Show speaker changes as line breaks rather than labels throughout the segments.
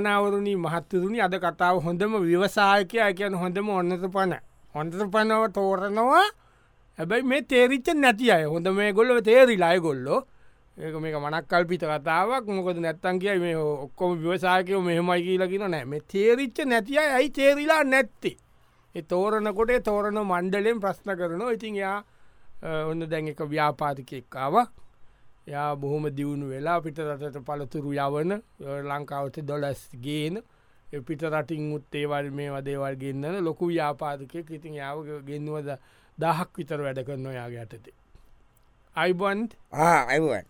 නොනවරුණී මහත්තතුනි අද කතාව හොඳම විවසායකයා කියන හොඳම ඔන්නත පණ හොඳත පනව තෝරනවා හැබැයි මේ තේරිච්ච නැති අය හොඳ මේ ගොල්ලව තේරිලාය ගොල්ලෝ ඒක මේක මනක් කල්පිත කතාවක් මොකද නැත්තන් කිය මේ ඔක්කොම විවසායකයෝ මෙහෙමයි කියලකින නෑ මේ තේරිච්ච නැතිය ඇයි තේරිලා නැත්ති ඒ තෝරනකොටේ තෝරන මණ්ඩලෙන් ප්‍රශ්න කරනවා ඉතින් යා ඔන්න දැන් එක ව්‍යාපාතිකෙක්කාවක් යා බොහොම දියුණු වෙලා පිට රටට පළතුරු යවන ලංකාවට දොලස් ගේන පිට රටින් උත්තේවල් මේ වදේවල් ගන්නන ලොකු ්‍යාපාදකය ඉතින් යාව ගෙන්වද දහක් විතර වැඩ කරන්න ඔයාගේ යටතේ. අයිබන්්
ඇවන්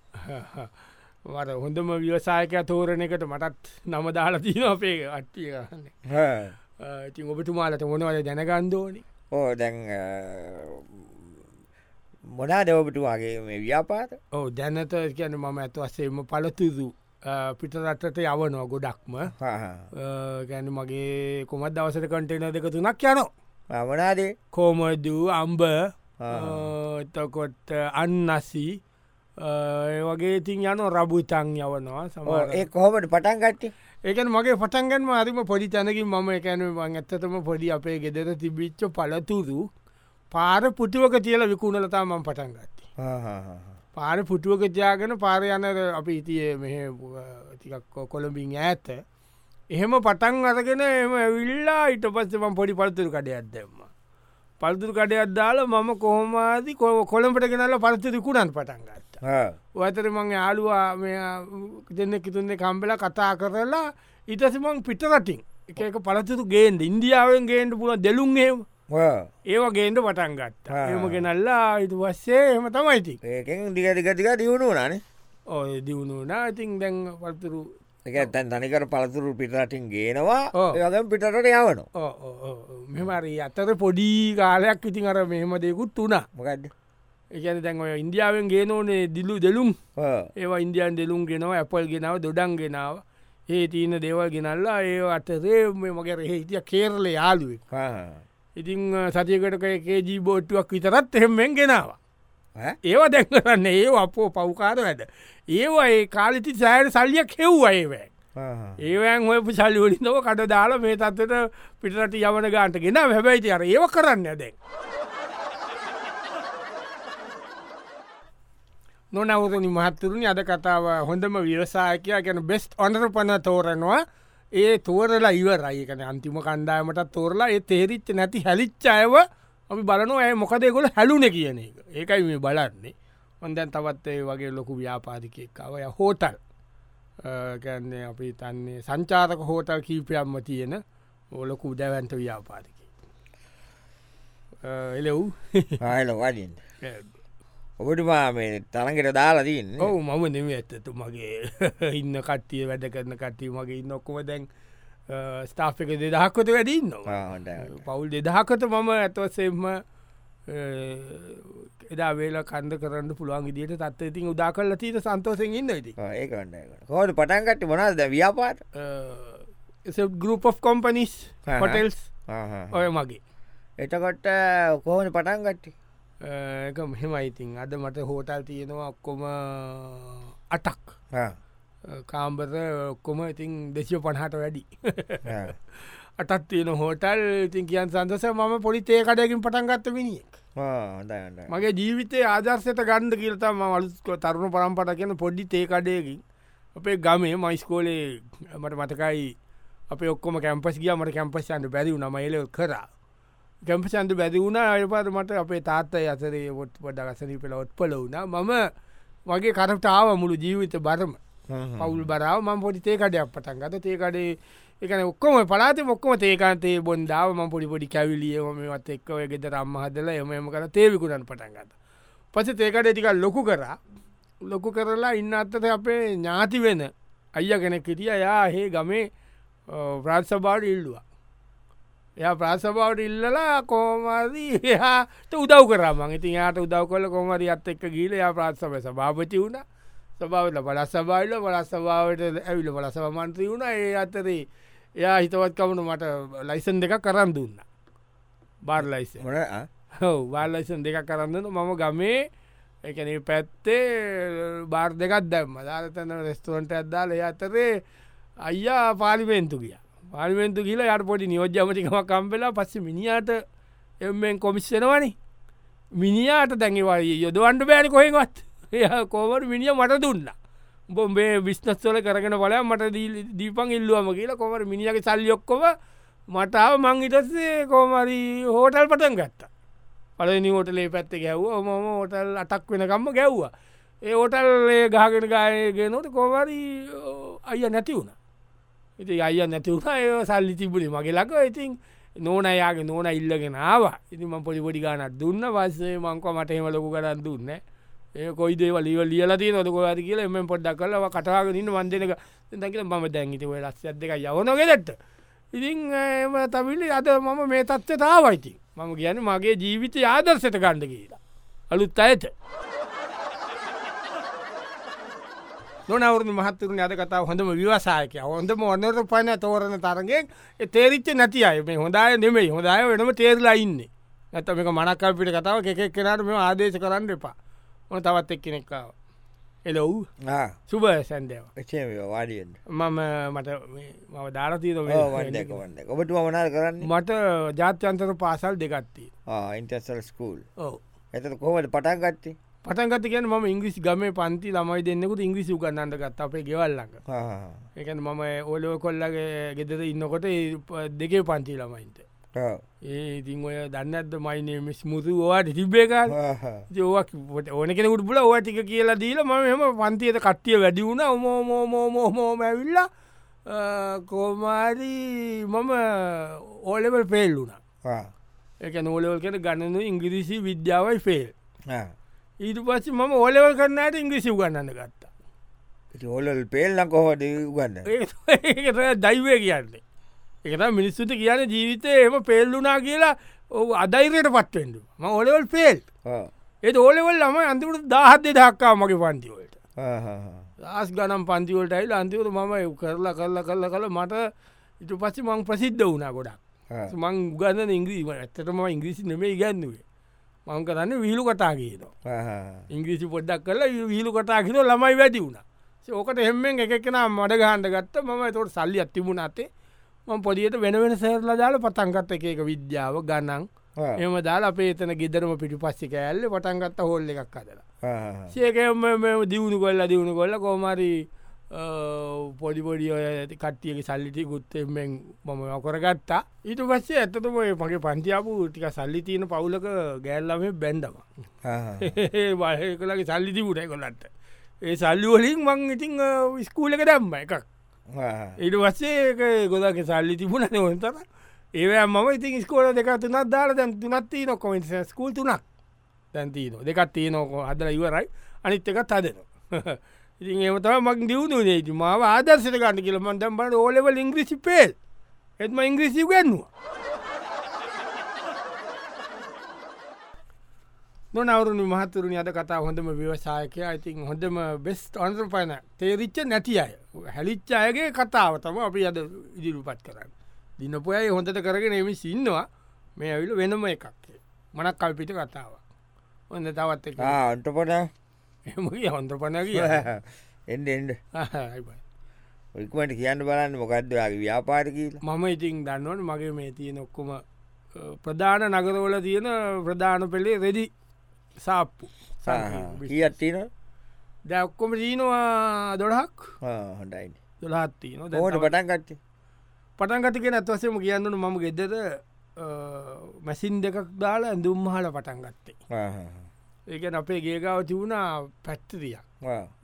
වර හොඳම ව්‍යවසායකය තෝරණ එකට මටත් නම දාලා තින අපේ අට්ටිය ගන්න ඉතින් ඔබතුමාලට මොනවද දැනගන්දෝනි
ඕ දැන් මොනා දවපටුවාගේ මේ ව්‍යාපාත
ඕ දැනත කියන මම ඇත් වස්සේම පලතුදු පිටරටට යවනවා ගොඩක්ම ගැන මගේ කොමත් දවසට කටේන දෙක තුනක් යන
මනාදේ
කෝමදූ අම්බ එතකොට අන්නසි ඒ වගේ ඉතින් යන රබුතන් යවනවා සමඒ
ඒ කොහොමට පටන් ගට්ටි
ඒකන මගේ පටන්ගන්ම අරිම පොඩි තැනකින් මම එකැනවන් ඇත්තතම පොඩි අපේ ගෙදර තිබිච්ච පලතුරු පාර පුටුවක තියල විකුණලතා මම පටන් ගත්ති. පාර පුටුවක ජාගෙන පාර යන අපි ඉතිය මෙ තිකක් කොළඹින් ඇත. එහෙම පටන් අරගෙන එම ඇවිල්ලා ඉට පස්සම පොඩි පල්තුරු කඩ අදදෙම. පල්තුරු කඩ අද්දාල මම කොහොමාදි කො කොළඹට ගෙනල පරිතරිකුණන් පටන් ගත්ත. ඔඇතර මං යාලුවා දෙන්න කිතුන්නේ කම්බෙල කතා කරලා ඉටසමං පිටරටින් එක එක පලතුරු ගේන්ද ඉන්දියාවෙන් ගේන්ට පුල දෙලුම් ඒම ඒවගේන්ට පටන් ගත්ත එම ගෙනල්ලා ඉතු වස්සේ එම තමයිති
ඒකෙන් දිගටිකටික දියුණු වනානේ
ඕය දියුණුනා ඉතින් දැන් පල්තුරු
එක ඇත්තැන් තනිකර පළතුරු පිටරටින් ගේනවා
ඕ.
යදම් පිටට යවන
මෙමරි අතර පොඩි කාලයක් ඉතින් අර මෙහෙම දෙකුත් වුණා
මොකක්ද
එකන දැන් ඔය ඉන්දියාවෙන් ගේනෝනේ දිල්ලු දෙලුම් ඒවා ඉන්දියන් දෙලුම් ගෙනවා ඇපල් ගෙනාව දොඩන් ගෙනාව ඒ තියන දේවල් ගෙනල්ලා ඒ අතරේ මේ මගේ රෙහිතිය කේරල යාලුවෙක් ඉතිං සතියකට එකේ ජීබෝට්ටුවක් විතරත් එහෙමෙන් ගෙනවා ඒවා දැක්කරන්න ඒ අපෝ පව්කාර වැඩ ඒවා ඒ කාලිති සෑයට සල්ලියක් හෙව්වා ඒවැ ඒවෑන් ඔයපු සල්ලිවලින්දව කට දාලා මේ තත්වට පිටට යවන ගාන්ට ගෙන හැබැයිති අර ඒව කරන්න ඇදැන් නොනවරනි මහත්තුරුණි අද කතාව හොඳම විවසායකයා ගැන බෙස්ට ඔනර පන තෝරනවා ඒ තෝරලා ඉවරයිකන අන්තිම කණ්ඩායමටත් තෝරලා ඒ තේරිච්ච නැති හැලිච්චායව අපි බලනො ඇය මොකදයකොල හැලුන කියන එක ඒකයි මේ බලන්නේ හොන්දැන් තවත් ඒ වගේ ලොකු ව්‍යාපාරිකයක්කාවය හෝටල් ගැන්නේ අපි තන්නේ සංචාතක හෝටල් කීපයම්ම තියෙන ඕලොකු දැවන්ත ව්‍යාපාරික එලෙව්
හල වඩින් ඔබටමා මේ තරගෙට දාලා දන්න
ඔවු මම නෙම ඇත්තතු මගේ ඉන්න කට්ටිය වැඩ කරන කට්ටිය මගේ ඉන්න ඔක්කොම දැන් ස්ථාපික දෙදහක්කොට වැඩින්නවා පවුල් දෙදහකට මම ඇතවසෙම එදා වේල කන්ද කරන්න පුළුවන් ඉදිට තත්ව ඉතින් උදා කරල තීට සන්තෝසෙන් ඉන්න ඉති
ඒකන්න හෝට පටන්ගට මොනාද ව්‍යාපාට
ගරුප් of කොම්පනිස්
හා.
පොටෙල්ස් ඔය මගේ
එතකොට කොහොන පටන්ගට්ටි
අ, ඒක මෙහෙමයිඉතින් අද මට හෝටල් තියෙනවා ඔක්කොම අටක් අ, කාම්බර ඔක්කොම ඉතින් දෙශෝ පණහට වැඩි අටත් තියෙන හෝටල් ඉතින් කියන් සන්දස මම පොලිතේ කඩයකින් පටන් ගත්ත මිනිියෙක් මගේ ජීවිතේ ආදර්ශයට ගන්ධ කියලතා ම වලුස්ක තරුණ පරම්පට කියන පොඩ්ඩි තේකඩයකින් අපේ ගමේ මයිස්කෝලේ මට මතකයි අප ඔක්කොම කැම්පස් ගිය මට කැම්පස්යන්ට බැරි වුණ මයිල කර කැම්පසන්ට බැරි වුණ අයපත මට අපේ තාත්තයි අතරේ ොට් පඩ ගසනී පෙළ ඔත්පල වුණ මම මගේ කරටාව මුළු ජීවිත බරම පවුල් බරාව ම පොඩි තේකඩයක් පටන් ගත තේකඩේ එකන ඔක්කොම පලාත මොක්කම තේකන්තේ බොන්දාව ම පොඩි පොඩි කැවිලියම ත් එක්කව ගෙත රම්ම හදල එම එම කර තේවිකුණන් පටන් ගත පස තේකඩ ටික ලොකු කරා ලොකු කරලා ඉන්න අත්තත අපේ ඥාති වෙන අයිය කෙනෙ කිටිය යා හේ ගමේ ප්‍රාත්සභාට ඉල්ලවා එය ප්‍රාසභාවට ඉල්ලලා කෝමදී එයාට උදව් කරමන් ඉතින් යාට උදව් කොල කොමරි අත් එක්ක ගීල යා ප්‍රාත්සභය සභාපති වුණ සභාවට පලස් සභාවිල පලස් සභාවට ඇවිල පලසව මන්ත්‍රී වුණ ඒ අතරේ එයා හිතවත්කමනු මට ලයිසන් දෙක කරන්න දුන්න බාර් ලයිස හව වාර්ලයිසන් දෙක කරන්නන මම ගමේ එකන පැත්තේ බාර් දෙකත් දැම්ම දාරතන රෙස්තුවන්ට ඇදදාල එය අතරේ අයියා පාලිමේන්තු කිය පාලිමේන්තු කියලා යට පොඩි නියෝජ්‍යමතිකම කම්පෙලා පස්ස මිනිාට එෙන් කොමිස්සෙනවනි මිනිාට දැඟවයි යොදවන්ඩ බෑන කොහෙවත් කෝවට මිනිිය මට දුන්න බොම්බේ විශ්නස්වල කරගෙන බලය මට දීපන් ඉල්ලුවම කියලා කොමට මිනිියගේ සල්යොක්කොව මටාව මංහිටස්සේ කෝමරි හෝටල් පටන් ගත්තා පලනි හෝටලේ පැත්ත ගැව්වා මම හෝටල් අටක් වෙනකම්ම ගැව්වා ඒ හෝටල් ගාගෙන ගායගෙනොට කෝමරි අය නැති වුණ ඉති අය නැතිවුණා ඒ සල්ලි තිබුණි මගේ ලක ඉතින් නෝන යාගේ නෝන ඉල්ලගෙනවා ඉතිම පොඩිපොඩි ගානක් දුන්න පස්සේ මංකව මටහෙම ලොකු කරන්න දුන්න ඒ කොයි දේව ලිව ලියලති නොකොද කියල එම පොඩ්ඩක් කලව කටවාග ඉන්න වන්දනක දකිල මම දැන්ගිති ලස් දෙක යවනොගෙදට ඉතින් එම තමිලි අද මම මේ තත්ව තාවයිති මම කියන මගේ ජීවිත ආදර්සට ගණ්ඩ කියලා අලුත් අයට නොනවරු මහත්තුරන අද කතාව හොඳම විවසායකය හොඳම ඔන්නර පන තෝරන තරගෙන් තේරිච්ච නැති අය මේ හොඳය නෙමේ හොදාය වෙනම තේරලා ඉන්න නැතම එක මනක්කල් පිට කතාව එකක් කෙනට මෙම ආදේශ කරන්න එපා ඕන තවත් එක් කෙනෙක්කාව එලොව් සුබ සැන්දේව
වාඩියෙන්
මම මට මම ධාරතීර
වන්න ඔබට මනා කරන්න
මට ජාත්‍යන්තර පාසල් දෙගත්තිී
ඉන්ටසල් ස්කූල්
ඔව
එත කොහට පටන් ගත්තේ
පටන්ගත කියන ම ඉංග්‍රිස් ගම පන්ති ළමයි දෙන්නෙකුට ඉංග්‍රිසි ගන්නට ගත් අපේ ගෙවල්ලඟ එක මම ඕලෝ කොල්ලගේ ගෙදර ඉන්නකොට ඒ ප- දෙකේ පන්ති ළමයින්ට ඒ ඉතින් ඔය දන්නඇද මයිනේ මිස් මුතු වාට තිබ්බේකාර ජෝවක් ඕන කෙනෙකුට පුල ඕ ටික කියලා දීල ම මෙම පන්තියට කට්ටිය වැඩි වුණ ඔමෝමෝමෝමෝම ඇවිල්ලා කෝමාරි මම ඕලෙවල් පෙල් වුණ එක නෝලෙවල් කෙන ගණනු ඉංග්‍රීසි විද්‍යාවයි ෆෙල් ඊට පස්ස මම ඕලෙවල් කරන්නට ඉංග්‍රීසි ගන්නන්න ගත්තා
ඔොලල් පේල්ලං කොහට ගන්න
ඒ දයිවය කියන්නේ එකත මිනිස්සුට කියන ජීවිතය එම පෙල් වුනා කියලා ඔ අදෛරයට පත්වෙන්ඩු ම ඕලෙවල් පෙල් ඒ ඕලෙවල් ම අන්තිමට දහත්තේ දක්කා මගේ පන්තිවලට දස් ගනම් පන්තිවලට ඇයිල අන්තිවර මම එව් කරලා කරලා කරලා කළ මට ඉට පස්සේ මං ප්‍රසිද්ධ වුණා ගොඩක් මං ගන්න ඉංග්‍රීම ඇත්තටම ඉංග්‍රීසි නෙමේ ඉගැන්නුවේ මං කරන්න විහිලු කතා කියනවා ඉංග්‍රීසි පොඩ්ඩක් කරලා වි- විහිලු කතා කිර ළමයි වැඩි වුණා ඕකට එෙමෙන් එකක්ෙන මඩ ගහන්ඩ ගත්ත මම තොට සල්ලි අත්තිබුණ අතේ මං පොඩියට වෙන වෙන සේරලා දාල පතන්ගත්ත එකක විද්‍යාව ගණන් එම දාලා පේතන ගෙදරම පිටි පස්සි කෑල්ල පටන්ගත්ත හොල්ල එකක් අදලා සේකම දියුණු කොල්ල දියුණු කොල්ල කෝමරි පොඩිපොඩි ඔය ඇති කට්ටියක සල්ලිටි ගුත්තෙන් මම අකරගත්තා ඊට පස්සේ ඇතතම ඔය මගේ පන්තියාපු ටික සල්ලි තියෙන පවුලක ගෑල්ලම බැන්ඩම බය කළගේ සල්ලි තිබුණයි කොලන්ට ඒ සල්ලි වලින් මං ඉතිං විස්කූලක දැම්ම එකක් ඉඩ වස්සේ ගොදක සල්ලි තිබුණ නොන්තර ඒවෑ මම ඉතින් ස්කෝල දෙකතුනත් දාල දැන් තුනත් තියන කොමෙන්ස ස්කූල් තුනක් දැන්තිීන දෙකත් තියනොකෝ හදර ඉවරයි අනිත් එකත් අදන ඉතින් ඒමතම මක් දියුණුනේ මාව ආදර්ශට ගන්න කියලමන් දැම්බට ඕලෙවල් ඉංග්‍රිසි පේල් එත්ම ඉංග්‍රීසි ගන්නවා නොනවරුණු මහතුරුණ අද කතා හොඳම ව්‍යවසායකය ඉතින් හොඳම බෙස්ට අන්ත්‍ර පයන තේරිච්ච නැති අය හැලිච්ච අයගේ කතාව තම අපි අද ඉදිරිපත් කරන්න දිනපොයයි හොඳට කරගෙන එමි සින්නවා මේ ඇවිල වෙනම එකක් මනක් කල්පිට කතාව හොඳ තවත් එක
අන්ට පොට
එමගේ හොඳ පන
එඩ එඩ ඉක්මට කියන්න බලන්න මොකක්දයාගේ ව්‍යාපාර කියල
මම ඉතින් දන්නවට මගේ මේ තියෙන ඔක්කොම අ, ප්‍රධාන නගරවල තියෙන ප්‍රධාන පෙළේ රෙදි සාප්පු
කියත්තින
දැක්කොම දීනවා දොඩහක්
හොටයි
දොළහත්තින
ඕට පටන් ගත්ත
පටන්ගතික නැත්වසම කියන්නන මම ගෙදර අ, මැසින් දෙකක් දාලා ඇඳුම් හල පටන් ගත්තේ ඒක අපේ ගේගාව තිබුණා පැත්තතිය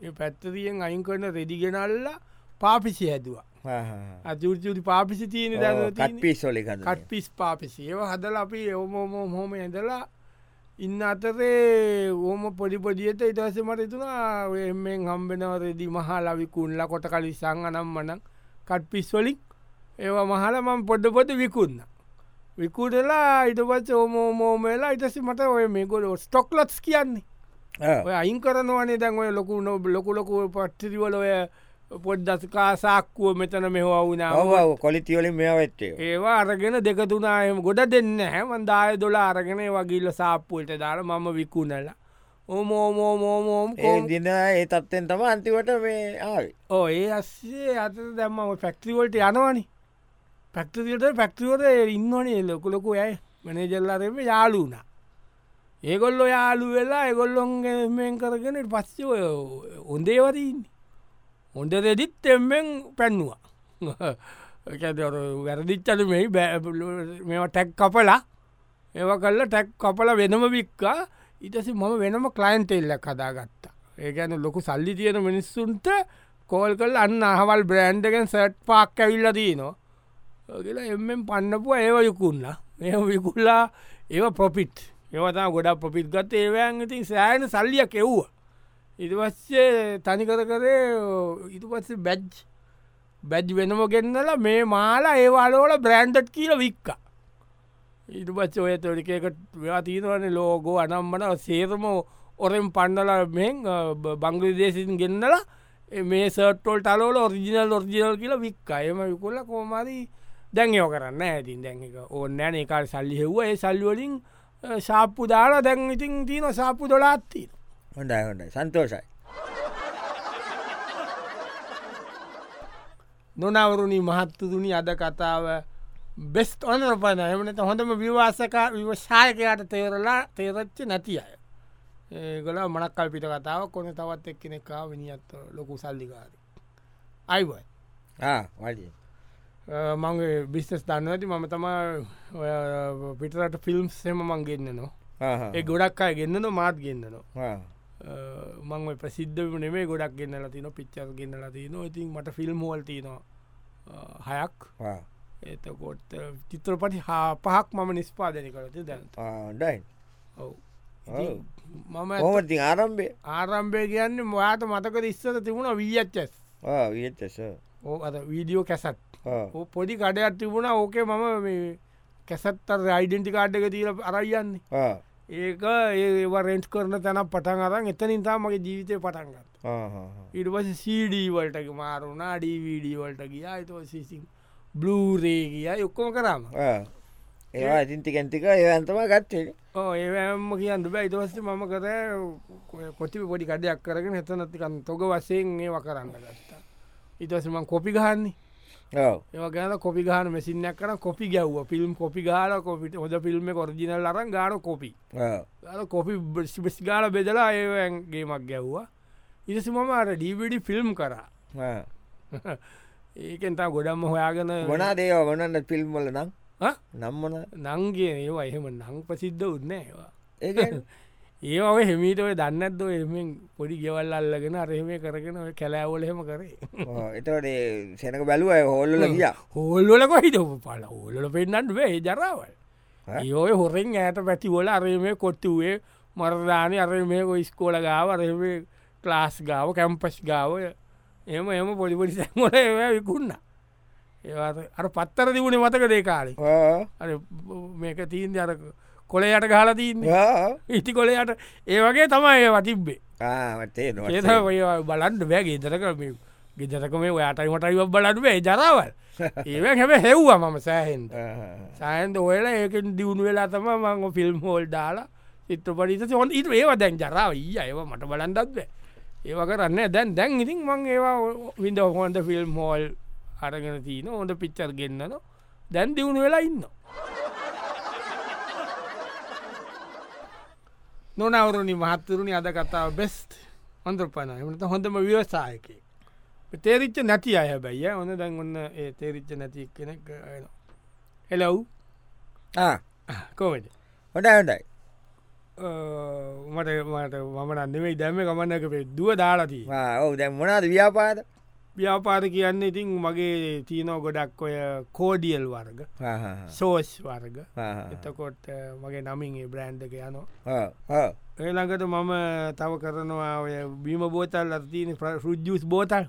ඒ පැත්තතියෙන් අයින් කරන රෙඩිගෙනල්ලා පාපිසි හැදවා අජුරජුරි පාපිසි තියෙන දැන
කත්පිස්සොලි කට
කට්පිස් පාපිසි ඒව හදල අපි එවමෝම හොම ඇඳලා ඉන්න අතරේ ඕම පොඩිපොඩියට ඉටස මට තුනා එෙන් හම්බෙනවරෙදි මහා ලවිකුල්ල කොට කල සං අනම් මනං කට්පිස්වලින් ඒව මහල මං පොඩ්ඩ පොට විකුන්න විකුටලා ඉටපත් ඕමෝමෝමලා ඉටස මට ඔය මේකොල ස්ටොක්ලොස් කියන්නේ ඔය අයින් කරනවනේ දැන් ඔය ලොකු නොබ ලොකුලොකු පට්ටිරිවල ඔය පොඩ්දස්කා සාක්කුව මෙතන මෙහවා වුණාව
ඔව කොලිතිවලින් මෙ වෙත්තේ
ඒවා අරගෙන දෙකතුනායම ගොඩ දෙන්න හැමන් දාය දොලා අරගෙන වගේල්ල සාප්පුල්ට දාල මම විකුණලා ඕමෝමෝමෝමෝම්
ඒ දින ඒ තත්වෙන් තම අන්තිවට මේ ආවේ
ඕ ඒ අස්සේ අත දැම්ම පැක්තිවලට යනවනි පැක්තිට පැක්තිවට ඉන්නවනේ ලොකුලොකු ඇයි මනේජල්ලාරම යාලුනා ඒගොල්ලො යාලු වෙලා එගොල්ලොන්ගේ මෙන් කරගෙන පස්ස ඔොන්දේවරන්න හොඳ දෙදිත් එෙන් පැන්නවා එකදර වැරදිච්චල මේ බැ මෙ ටැක් කපලා ඒව කල්ල ටැක් කපල වෙනම වික්කා ඉටසි මම වෙනම කලයින්ට එල්ලක් කදාගත්තා ඒකැන ලොකු සල්ලි තියෙන මිනිස්සුන්ට කෝල් කල් අන්න අහවල් බ්‍රෑන්්ගෙන් සට් පාක් ඇවිල්ල දීනවා කියලා එෙන් පන්නපුුව ඒව යුකුන්ලා ඒ විකුල්ලා ඒව පොපිට් ඒවතා ගොඩා පොපිට් ගත ඒවයන් ඉතින් සෑන සල්ලිය කෙව්ව ඉතිවස්සේ තනිකර කරේ ඉතුපස්ස බැජ් බැජ් වෙනම ගෙන්න්නලා මේ මාලා ඒවාලෝල බ්‍රෑන්්ඩට් කියල වික්කා ඉට පච්ච ඔය තොරිකකට ව්‍යාතීනවන ලෝගෝ අනම්මන සේරම ඔරෙන් පණ්ඩල මෙ බංගලදේසින් ගෙන්න්නල මේ සටල් තලෝල ඔරිජිනල් ොරිජිනල් කියල වික් අයම යුකොල්ල කෝමදී දැන්යෝ කරන්න ඇතින් දැන් එක ඕන්නෑන එකල් සල්ලි හෙව්ව ඒ සල්ලිවලින් ශාප්පු දාලා දැන් ඉතින් තියන සාප්පු දොලාත්තිීන
හොඳයි හොඳයි සන්තෝෂයි
නොනවරුණි මහත්තුදුනි අද කතාව බෙස්ට ඔනර පන එමනට හොඳම විවාසකා විවශායකයාට තේරලා තේරච්ච නැති අය ඒගොල මනක්කල් පිට කතාව කොන තවත් එක්කෙනෙකා විනිියත් ලොකු සල්ලිකාරි අයිබයි
වඩිය
මගේ බිස්තස් දන්න ඇති මම තම පිටරට ෆිල්ම්ස් සෙම මං ගෙන්න්න නො ඒ ගොඩක් අය ගෙන්න්න නො මාත් ගෙන්න්න නො මං ප්‍රසිද්ධ නේ ගොඩක් ගන්න ලතින පිච්චර ගන්න ලතින ඉතින් මට ෆිල්ම් හෝල්තිනවා හයක් එතකොට චිත්‍රපටි හා පහක් මම නිස්්පාදනය කරති
ආඩයි
ඔව මම
හෝමති ආරම්භය
ආරම්භය කියන්න මයාත මතක ඉස්සර තිබුණ වීච්චස්
වියච්චස
ඕ අද වීඩියෝ කැසත් පොඩි කඩයක් තිබුණ ඕකේ මම කැසත්තර රයිඩෙන්ටි කාඩ්ඩක තිීල අරයියන්නේ ඒක ඒව රෙන්ට් කරන තැන පටන් අරන් එතනින්තා මගේ ජීවිතය පටන්ගත් ඉඩවස සීඩීවල්ටක මාරුණා ඩීවිඩීවල්ට ගියා අයිතව සිසින් බ්ලූරේ කිය යොක්කොම කරාම
ඒවා ඉතින්තිකැන්තික ඒවන්තම ගත්තේ
ඕ ඒම කියන්න බෑ ඉතවස්ස මම කර කොටි පොඩි කඩයක් කරගෙන හතනතිකන් තොග වසයෙන් ඒව කරන්න ගත්තා ඉතසමන් කොපි ගහන්නේ ඒ ගැන කොපි ගහන මෙසිනක් කර කොපි ගැව්ව ෆිල්ම් කොපි ගාල කොපිට හොද ෆිල්ම් කොරජිනල් අරන් ගාන කොපි කොපි බිස් ගාල බෙදලා ඒගේමක් ගැව්වා ඉරසි මම අර ඩීවිඩි ෆිල්ම් කරා ඒකෙන්තා ගොඩම්ම හොයාගෙන
ගොනා දේව ගොනන්න පිල්ම්මල නම් නම්මන
නංගේ ඒවා එහෙම නං ප්‍රසිද්ධ උන්න ඒවා ඒ ඔය හෙමීට ඔය දන්නත්ද එමෙන් පොඩි ගෙවල් අල්ලගෙන අරහෙම කරගෙන ඔය කැලෑවල හෙම කරේ
එතට සැනක බැලුව හෝල්ල ගිය
හෝල්ලක හිට පල හෝල්ල පෙන්න්නට වේ ජරාවල් ඒඔය හොරෙන් ඇයට පැතිවොල අරම කොත්තුවේ මරදානය අර මේක ඉස්කෝල ගාව අරම ක්ලාස් ගාව කැම්පස් ගාවය එම එම පොඩිපොඩි සැමල විකුන්න ඒ අර පත්තර තිබුණ මතක දේකාලේ අ මේක තීන්ද අර කොලයට ගහලා තිීන්න ඉති කොලයට ඒ වගේ තමයි ඒ වටිබ්බේ ඒ බලන්ඩ බෑ ගෙදරක ගෙදරක මේ ඔයාටයි මටයි බලන්න බේ ජරාවල් ඒ හැම හෙව්වා මම සෑහෙන්ට සෑන්ද ඔයලා ඒකෙන් දියුණු වෙලා තම මංග ෆිල්ම් හෝල් දාලා චිත්‍රපටිත හොන් ඉට ඒවා දැන් ජරාව ඊය ඒව මට බලන්දත් බෑ ඒව කරන්න දැන් දැන් ඉතින් මං ඒවා විඳ හොන්ද ෆිල්ම් හෝල් අරගෙන තියන හොඳ පිච්චර් ගෙන්න්නන දැන් දියුණු වෙලා ඉන්න නොනවරුණනි මහත්තරුණි අද කතාව බෙස්ට අන්ත්‍රපන එමට හොඳම ව්‍යවසායකය තේරිච්ච නැති අය බැයිය ඔන්න දැන් ඔන්න ඒ තේරිච්ච නැති කෙනෙක් හෙලව් කෝමට
හොඩ හොඩයි
මට මට මම නන්නෙවෙයි දැම ගමන්නක පේ දුව දාලාදී
ඔව දැ මොනාද ව්‍යාපාද
ව්‍යාපාර කියන්න ඉතින් මගේ තියනෝ ගොඩක් ඔය කෝඩියල් වර්ග සෝස් වර්ග එතකොට මගේ නමින් ඒ බ්‍රෑන්්ක යනෝ ඒළඟට මම තව කරනවා ඔය බීම බෝතල් අතින රුද්ජස් බෝතල්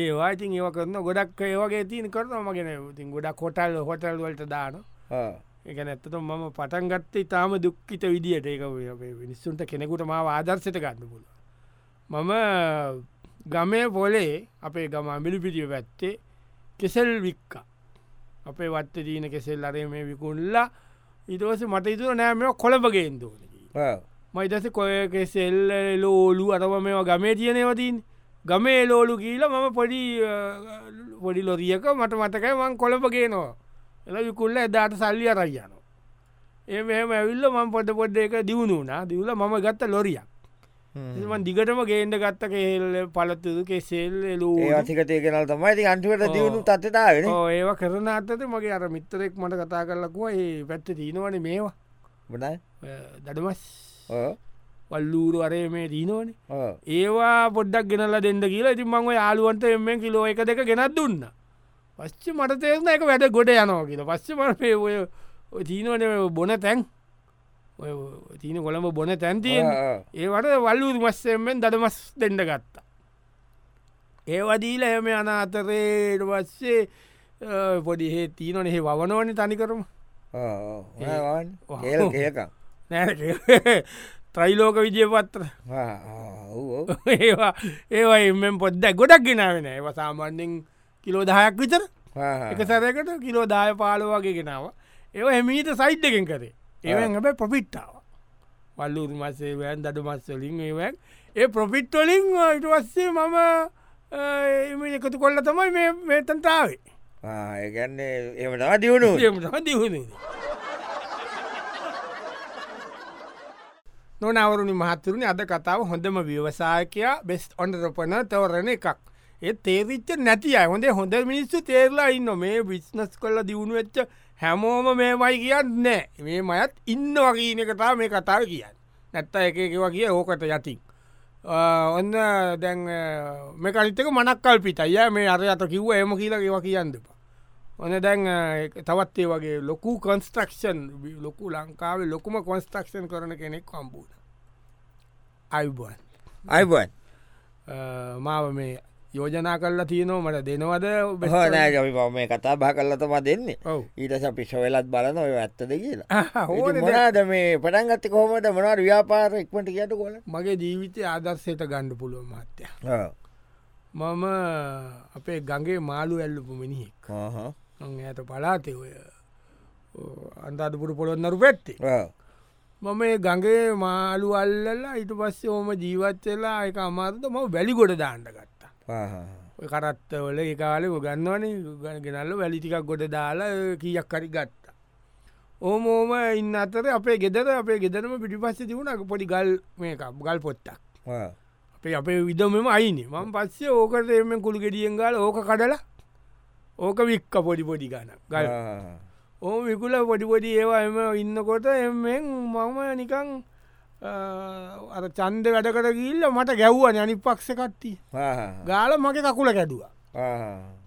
ඒවා ඉතින් ඒව කරන ගොඩක් ඒවගේ තියන කරනවා මගෙන ඉතින් ගොඩක් කොටල් හොටල් වලට දාන එක නැත්තට මම පටන්ගත්ත ඉතාම දුක්කිත විදිහට ඒක මිනිස්සුන්ට කෙනෙකුට ම ආදර්ශයට ගන්න පුල මම ගමය පොලේ අපේ ගම මිලිපිටිය පැත්තේ කෙසෙල් වික්ක අපේ වත්ත දීන කෙසෙල් අරේ මේ විකුල්ලා ඉතවස මට ඉතුර නෑම කොළඹගෙන් දෝන මයිතස කොයක සෙල්ල ලෝලු අතම මෙ ගමේ තියනවතින් ගමේ ලෝලු කියීල මම පොඩි පොඩි ලොරියක මට මතකයි මං කොළපගේනවා එල විකුල්ල එදාට සල්ලි අරයියන ඒ මෙම ඇවිල්ල මං පොට පොඩ්ඩ එක දියුණුනා දවල මම ගත්ත ලොරියක් මන් දිගටම ගේන්ඩ ගත්ත කෙල් පලතුදු කෙසෙල් ලූ
ඒතිකතය කෙනල් තමයි ති අන්ටිවට දියුණු තත්තාවෙන
ඒව කරන අතත මගේ අර මිත්තරෙක් මට කතා කරලකුව ඒ පැත්ත දීනවන මේවා
බඩයි
දඩමස් වල්ලූරු අරය මේ දීනවනේ ඒවා පොඩ්ඩක් ගෙනල දෙන්න කියලා ඉතින් මංව යාලුවන්ට එම කිලෝ එක දෙක ගෙනත් දුන්න පස්්ච මට තේරන එක වැඩ ගොඩ යනවා කියලා පස්්ච මට පේය චීනවන බොන තැන් ඔය චීන කොළඹ බොන තැන්තියෙන් ඒවට වල්ලූ මස්සෙන්ෙන් දඩමස් දෙඩ ගත්තා ඒවදීල එම යන අතරේට පස්සේ පොඩි හේ තීනනෙ වවනවන තනිකරම
ඒකම්
නෑ ත්‍රයිලෝක විජය පත්‍ර ඒවා ඒවා එමෙන් පොද්දැ ගොඩක් ගෙනාවෙන ඒව සාමාන්‍යෙන් කිලෝ දහයක් විතර එක සැරකට කිලෝ දාය පාලෝ වගේ ගෙනාව ඒව එමීට සයිට් එකෙන් කරේ ඒවන් හැබැ පොපිට්ටාව වල්ලු උරුමස්සේ වැෑන් දඩු මස්වලින් ඒවන් ඒ පොපිට්ටොලින් ඉට වස්සේ මම එම එකතු කොල්ල තමයි මේ මේතන්තාවේ
ඒගන්නේ එමටම දියුණු
ඒමටම දියුණේ නොනවරුණි මහත්තුරුණි අද කතාව හොඳම ව්‍යවසායකයා බෙස් ඔන්ඩරපන තවරණ එකක් ඒ තේරිච්ච නැති අය හොඳේ හොඳ මිනිස්සු තේරලා ඉන්න මේ විශ්නස් කොල්ල දියුණු වෙච්ච හැමෝම මේමයි කියන්න නෑ මේ මයත් ඉන්න වගේන කතා මේ කතාව කියන්න නැත්ත එකකවා කිය ඕකට යතින් ඔන්න දැන් මේකලිතක මනක්කල් පිට අය මේ අර අත කිව්ව එම කියලගේවා කියන්නප ඔන්න දැන් තවත්තේ වගේ ලොකු කොන්ස්ට්‍රක්ෂන් ලොකු ලංකාවේ ලොකුම කොන්ස්ට්‍රක්ෂන් කරන කෙනෙක් කම්බූ අයිබන්
අයිබන්
මාව මේ යෝජනා කරලා තියනෝ මට දෙනවද
බහනෑගි බව මේ කතා බා කරලතම දෙන්නේ
ඔව්.
ඊටස පිශ වෙලත් බලන ඔය ඇත්තද කියලා
හෝ
මනාද මේ පටන්ගත්ත කොහොමට මොනවට ව්‍යාපාර එක්මට කියට කොල
මගේ ජීවිතය ආදර්ශයට ගණ්ඩ පුළුව මත්‍ය මම අපේ ගගේ මාළු ඇල්ලපු මිනිහෙක් මං ඇයට පලාතේ ඔය අන්තාධපුරු පොළොන්නරු පැත්තේ මම ඒ ගඟේ මාළු අල්ලලා ඉට පස්සේ ඕම ජීවත්වෙලා එක අමාරත ම වැලි ගොඩ දාන්න ගත්තා ඔය කරත්තවල එකකාල ගන්නවනේ ග- ගෙනල්ල වැලිටිකක් ගොඩ දාලා ඒ කීයක් කරි ගත්තා ඕම ඕම ඉන්න අතර අපේ ගෙදර අපේ ගෙදරම පිටිපස්ස තිබුණක පොඩි ගල් මේ එකක්, ගල් පොත්තක් අපේ අපේ විදමම අයිනි මම පස්සේ ඕකට එම කුළු ගෙඩියෙන් ගාල ඕක කඩලා ඕක වික්ක පොඩි පොඩි ගන්න ගල් ඕ විකුල පොඩිපොඩි ඒවා එම ඉන්නකොට එෙන් මම නිකං අ, අර චන්ද වැඩකට ගිල්ල මට ගැව්වා යනි පක්ෂ කට්ටිය ගාල මගේ කකුල කැඩුව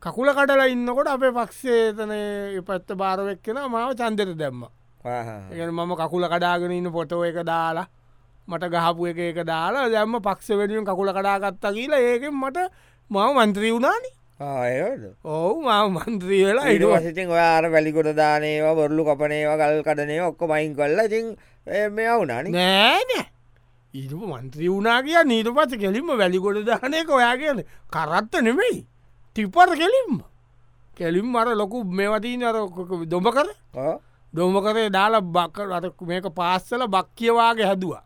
කකුල කටලා ඉන්නකොට අපේ පක්ෂේතන පැත්ත භාරවෙක් කෙන මාව චන්දත දැම්ම එක මම කකුල කඩාගෙන ඉන්න පොටෝ එක දාලා මට ගහපු එක එක දාලා දැම්ම පක්ෂ වැඩියෙන් කකුල කඩාගත්තා කියලා ඒකෙන් මට මම මන්ත්‍රී වුණනි ඔවු මම මන්ත්‍රී වෙලා
ඉඩ
ඉඩුව
වසිතින් ඔයාර වැලිකොට දානේවා බොරලු කපනේවා ගල් කඩනේ ඔක්කො මයින් කොල්ල ඉතින් මේ අවුනාන
නෑනෑ ඉරු මන්ත්‍රී වුණා කිය නීට පස කෙලින්ම වැලිකොඩ දානයක ඔයා කියන කරත්ත නෙමෙයි ටිපර් කෙලින්ම කෙලින් අර ලොකු මෙවතිී අර දොඹ කර දොම කරේ දාල බක්කර අරක් මේක පාස්සල බක් කියවාගේ හැදවා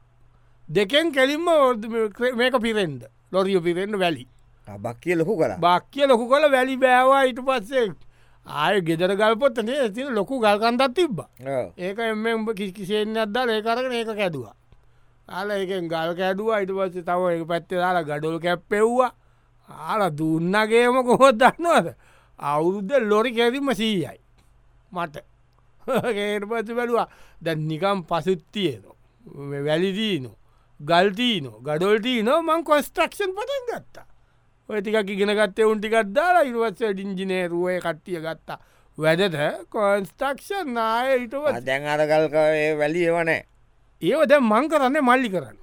දෙකෙන් කෙලින්ම ඔ- මේ- මේක පිරෙන්ද ලොරිය පිරෙන්න්න වැලි
බක් කිය ලොහු කර
බක්්‍ය ලොකු කොල වැලි බෑවා ඉට පස්සේ ආය ගෙදර ගල්පොත්තනේ ඇතින ලොකු ගල්කන්දත් තිබ්බා ඒක එම උඹ කිසිෙන් අදදාල ඒකරන ඒක කැදවා ආල එක ගල් කැඩුවා අයිට පස්සේ තව එක පැත්තේ දාලා ගඩොල් කැප්පෙව්වා ආල දුන්නගේම කොහොත් දන්නවද අවුරුද්ධ ලොරි කැරීම සීයයි මට ඒට පස්ස බැලවා දැන් නිකම් පසුත්තියනො වැලිදීනො ගල්ටීනො ගඩොල්ටී නෝ මං කොස්ට්‍රක්ෂන් පටන් ගත්තා ඔය ටිකක් ඉගෙනගත්තේ උන්ටිකත්දාලා ඉරුවත්ස ඩිංජිනේරුවය කට්ටිය ගත්තා වැඩද කොන්ස්ටක්ෂන් නාය ඉටවත්
දැන් අරගල්කවේ වැලි ඒවනෑ
ඒව දැ මං කරන්න මල්ලි කරන්න